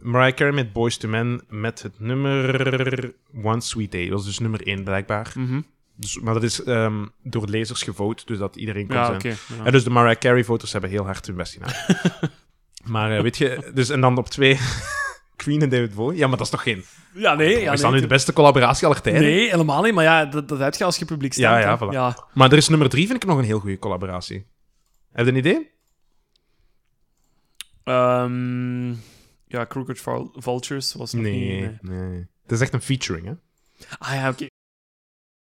Mariah Carey met Boys to Men met het nummer One Sweet Day. Dat was dus nummer 1 blijkbaar. Mhm. Dus, maar dat is ehm, door lezers gevote, dus dat iedereen kon Ja, zijn. oké. ja. En dus de Mariah Carey-voters hebben heel hard hun best gedaan. maar eh, weet je, dus en dan op twee Queen en David Bowie. Ja, maar dat is toch geen... Ja, nee. Ja, is dat nee, nu de beste collaboratie aller tijden? nee, helemaal niet. Maar ja, dat, dat heb je als je publiek Ja, staat. ja, hè. voilà. ja. Maar er is nummer drie, vind ik nog een heel goede collaboratie. Heb je een idee? Ehm, ja, Crooked Vul- Vultures was nog niet... nee. Het is echt een featuring, hè? Ah ja, oké.